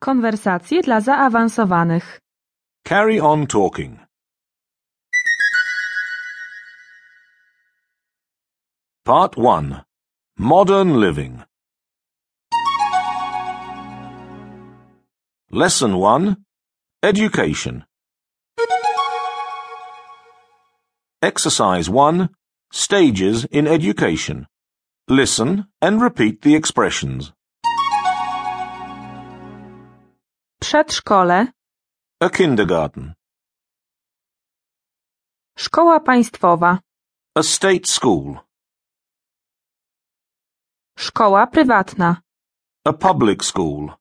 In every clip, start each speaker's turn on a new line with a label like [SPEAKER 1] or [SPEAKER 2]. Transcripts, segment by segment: [SPEAKER 1] Konwersacje dla zaawansowanych.
[SPEAKER 2] Carry on talking. Part 1 Modern Living Lesson 1 Education Exercise 1 Stages in Education Listen and repeat the expressions.
[SPEAKER 1] Przedszkole,
[SPEAKER 2] A kindergarten.
[SPEAKER 1] szkoła państwowa,
[SPEAKER 2] A state school.
[SPEAKER 1] szkoła prywatna,
[SPEAKER 2] A public school.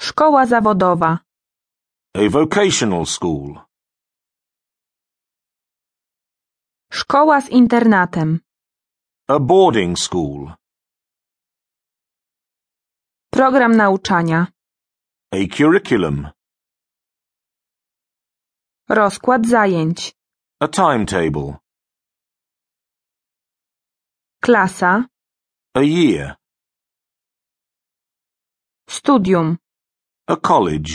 [SPEAKER 1] szkoła zawodowa,
[SPEAKER 2] A vocational school.
[SPEAKER 1] szkoła z internatem,
[SPEAKER 2] A boarding school.
[SPEAKER 1] program nauczania,
[SPEAKER 2] A curriculum.
[SPEAKER 1] rozkład zajęć,
[SPEAKER 2] A timetable.
[SPEAKER 1] klasa,
[SPEAKER 2] A year.
[SPEAKER 1] studium,
[SPEAKER 2] A college.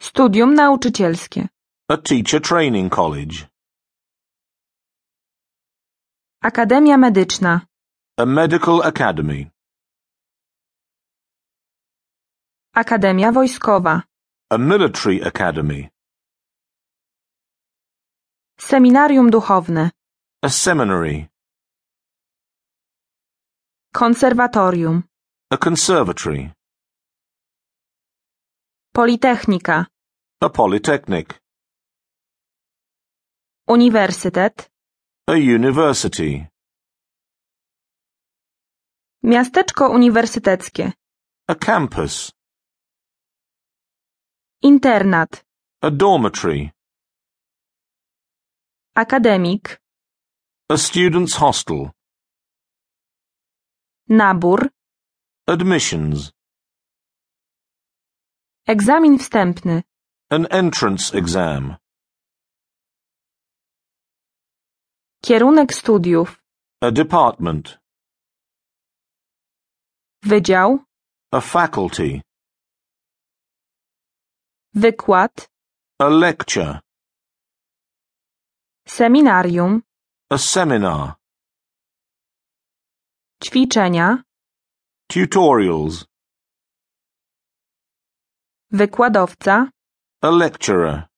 [SPEAKER 1] studium nauczycielskie,
[SPEAKER 2] A teacher training college.
[SPEAKER 1] akademia medyczna,
[SPEAKER 2] A medical academy.
[SPEAKER 1] akademia wojskowa,
[SPEAKER 2] A military academy.
[SPEAKER 1] seminarium duchowne,
[SPEAKER 2] A seminary.
[SPEAKER 1] konserwatorium,
[SPEAKER 2] A conservatory.
[SPEAKER 1] politechnika,
[SPEAKER 2] A polytechnic.
[SPEAKER 1] uniwersytet,
[SPEAKER 2] A university.
[SPEAKER 1] miasteczko uniwersyteckie,
[SPEAKER 2] A campus.
[SPEAKER 1] internat,
[SPEAKER 2] A dormitory.
[SPEAKER 1] akademik,
[SPEAKER 2] A student's hostel.
[SPEAKER 1] nabór,
[SPEAKER 2] Admissions.
[SPEAKER 1] egzamin wstępny.
[SPEAKER 2] An entrance exam.
[SPEAKER 1] Kierunek studiów,
[SPEAKER 2] A department.
[SPEAKER 1] wydział,
[SPEAKER 2] A faculty.
[SPEAKER 1] wykład,
[SPEAKER 2] A lecture.
[SPEAKER 1] seminarium,
[SPEAKER 2] A seminar.
[SPEAKER 1] ćwiczenia,
[SPEAKER 2] Tutorials.
[SPEAKER 1] wykładowca,
[SPEAKER 2] A lecturer.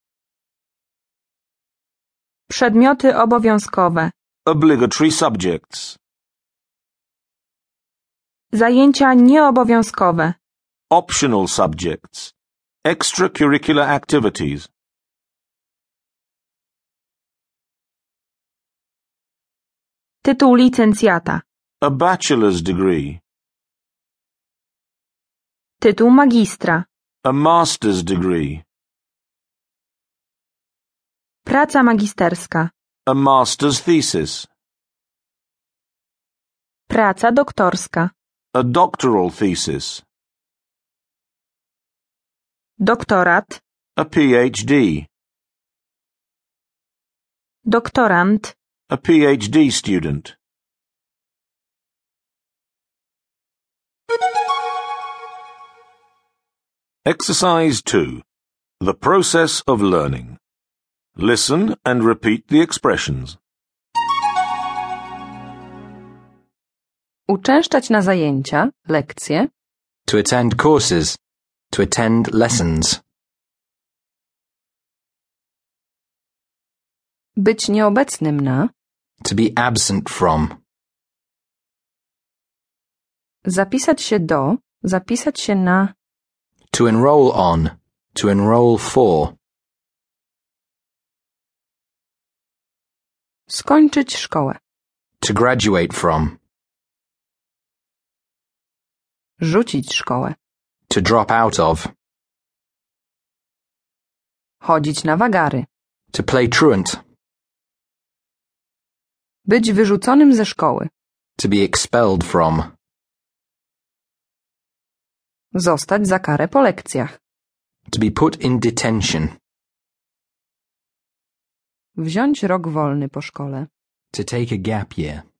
[SPEAKER 1] przedmioty obowiązkowe,
[SPEAKER 2] Obligatory subjects.
[SPEAKER 1] zajęcia nieobowiązkowe,
[SPEAKER 2] Optional subjects. Extracurricular activities.
[SPEAKER 1] tytuł licencjata,
[SPEAKER 2] A bachelor's degree.
[SPEAKER 1] tytuł magistra,
[SPEAKER 2] A master's degree.
[SPEAKER 1] praca magisterska,
[SPEAKER 2] A master's thesis.
[SPEAKER 1] praca doktorska,
[SPEAKER 2] A doctoral thesis.
[SPEAKER 1] doktorat,
[SPEAKER 2] A PhD.
[SPEAKER 1] doktorant,
[SPEAKER 2] A PhD student. Exercise 2 The Process of Learning. Listen and repeat the expressions.
[SPEAKER 3] Uczęszczać na zajęcia, lekcje,
[SPEAKER 4] To attend courses. To attend lessons.
[SPEAKER 3] być nieobecnym na,
[SPEAKER 4] To be absent from.
[SPEAKER 3] zapisać się do, zapisać się na,
[SPEAKER 4] To enroll on. To enroll for.
[SPEAKER 3] skończyć szkołę,
[SPEAKER 4] To graduate from.
[SPEAKER 3] rzucić szkołę,
[SPEAKER 4] To drop out of.
[SPEAKER 3] chodzić na wagary,
[SPEAKER 4] To play truant.
[SPEAKER 3] być wyrzuconym ze szkoły,
[SPEAKER 4] To be expelled from.
[SPEAKER 3] zostać za karę po lekcjach,
[SPEAKER 4] To be put in detention.
[SPEAKER 3] wziąć rok wolny po szkole.
[SPEAKER 4] To take a gap year.